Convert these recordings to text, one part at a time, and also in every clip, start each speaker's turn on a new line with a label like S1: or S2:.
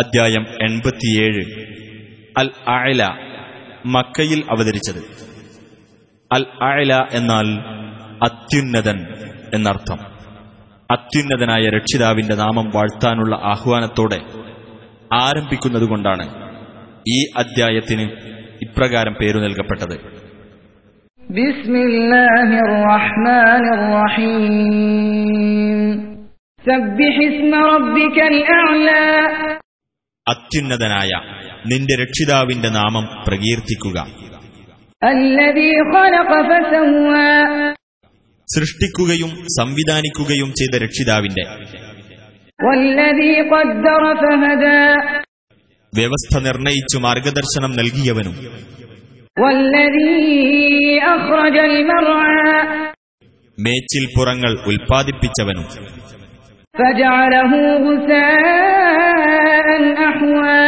S1: അധ്യായം എൺപത്തിയേഴ് അൽ അഅല മക്കയിൽ അവതരിച്ചത് അൽ അഅല എന്നാൽ അത്യുന്നതൻ എന്നർത്ഥം അത്യുന്നതനായ രക്ഷിതാവിന്റെ നാമം വാഴ്ത്താനുള്ള ആഹ്വാനത്തോടെ ആരംഭിക്കുന്നതുകൊണ്ടാണ് ഈ അദ്ധ്യായത്തിന് ഇപ്രകാരം പേരു നൽകപ്പെട്ടത്
S2: بسم الله الرحمن الرحيم سبح اسم ربك الأعلى
S1: അത്യുന്നതനായ നിന്റെ രക്ഷിതാവിന്റെ നാമം പ്രകീർത്തിക്കുക
S2: الذي خلق فسوى
S1: സൃഷ്ടിക്കുകയും സംവിധാനിക്കുകയും ചെയ്ത രക്ഷിതാവിന്റെ
S2: والذي قدر فهدى
S1: വ്യവസ്ഥ നിർണയിച്ചു മാർഗദർശനം നൽകിയവനും
S2: والذي أخرج المرعى
S1: മേച്ചിൽ പുറങ്ങൾ ഉൽപ്പാദിപ്പിച്ചവനും
S2: فجعله غثاء أحوى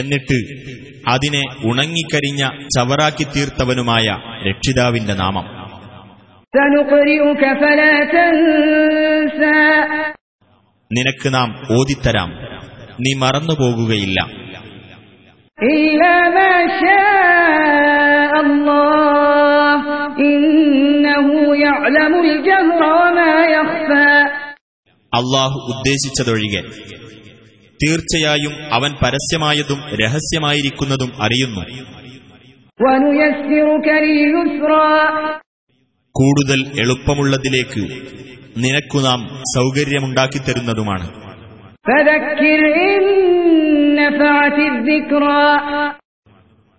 S1: എന്നിട്ട് അതിനെ ഉണങ്ങിക്കരിഞ്ഞ ചവറാക്കി തീർത്തവനുമായ രക്ഷിതാവിന്റെ നാമം
S2: سنقرئك فلا تنسى
S1: നിനക്ക് നാം ഓതിത്തരാം നീ മറന്നുപോകുകയില്ല
S2: إلا ما شاء الله إنه يعلم الجهر وما يخفى
S1: അള്ളാഹു ഉദ്ദേശിച്ചതൊഴികെ തീർച്ചയായും അവൻ പരസ്യമായതും രഹസ്യമായിരിക്കുന്നതും അറിയുന്നു
S2: ونيسرك لليسرى
S1: കൂടുതൽ എളുപ്പമുള്ളതിലേക്ക് നിനക്കു നാം സൗകര്യമുണ്ടാക്കിത്തരുന്നതുമാണ്
S2: فذكر إن نفعت الذكرى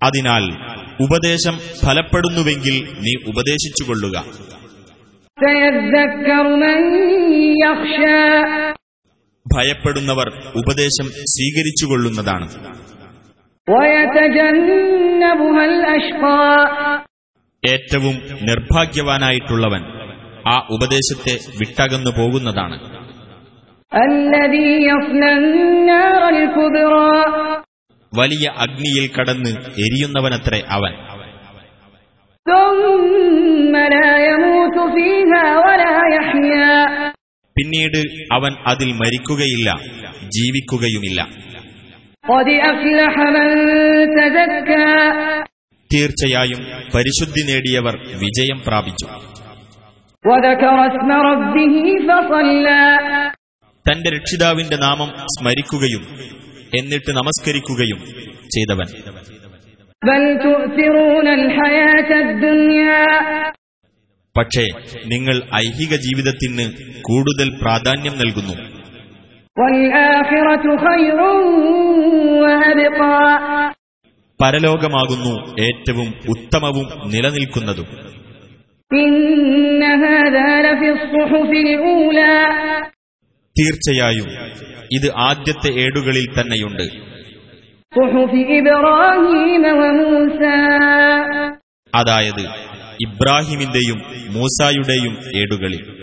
S1: അതിനാൽ ഉപദേശം ഫലപ്പെടുന്നുവെങ്കിൽ നീ ഉപദേശിച്ചുകൊള്ളുക
S2: سيذكر من يخشى
S1: ഭയപ്പെടുന്നവർ ഉപദേശം സ്വീകരിച്ചുകൊള്ളുന്നതാണ്
S2: ويتجنبها الأشقى
S1: ഏറ്റവും നിർഭാഗ്യവാനായിട്ടുള്ളവൻ ആ ഉപദേശത്തെ വിട്ടകന്നു പോകുന്നതാണ്
S2: الذي يصلى النار الكبرى
S1: വലിയ അഗ്നിയിൽ കടന്ന് എരിയുന്നവനത്രേ അവൻ
S2: ثم لا يموت فيها ولا يحيا
S1: പിന്നീട് അവൻ അതിൽ മരിക്കുകയില്ല ജീവിക്കുകയുമില്ല
S2: قد أفلح من تزكى
S1: തീർച്ചയായും പരിശുദ്ധി നേടിയവർ വിജയം പ്രാപിച്ചു
S2: وذكر اسم ربه فصلى
S1: തന്റെ രക്ഷിതാവിന്റെ നാമം സ്മരിക്കുകയും എന്നിട്ട് നമസ്കരിക്കുകയും ചെയ്തവൻ
S2: بل تؤثرون الحياة الدنيا
S1: പക്ഷേ നിങ്ങൾ ഐഹിക ജീവിതത്തിന് കൂടുതൽ പ്രാധാന്യം നൽകുന്നു
S2: والآخرة خير وأبقى
S1: പരലോകമാകുന്നു ഏറ്റവും ഉത്തമവും നിലനിൽക്കുന്നതും
S2: إن هذا لفي الصحف الأولى
S1: തീർച്ചയായും ഇത് ആദ്യത്തെ ഏടുകളിൽ തന്നെയുണ്ട്
S2: صحف إبراهيم وموسى
S1: അതായത് ഇബ്രാഹിമിന്റെയും മൂസായുടെയും ഏടുകളിൽ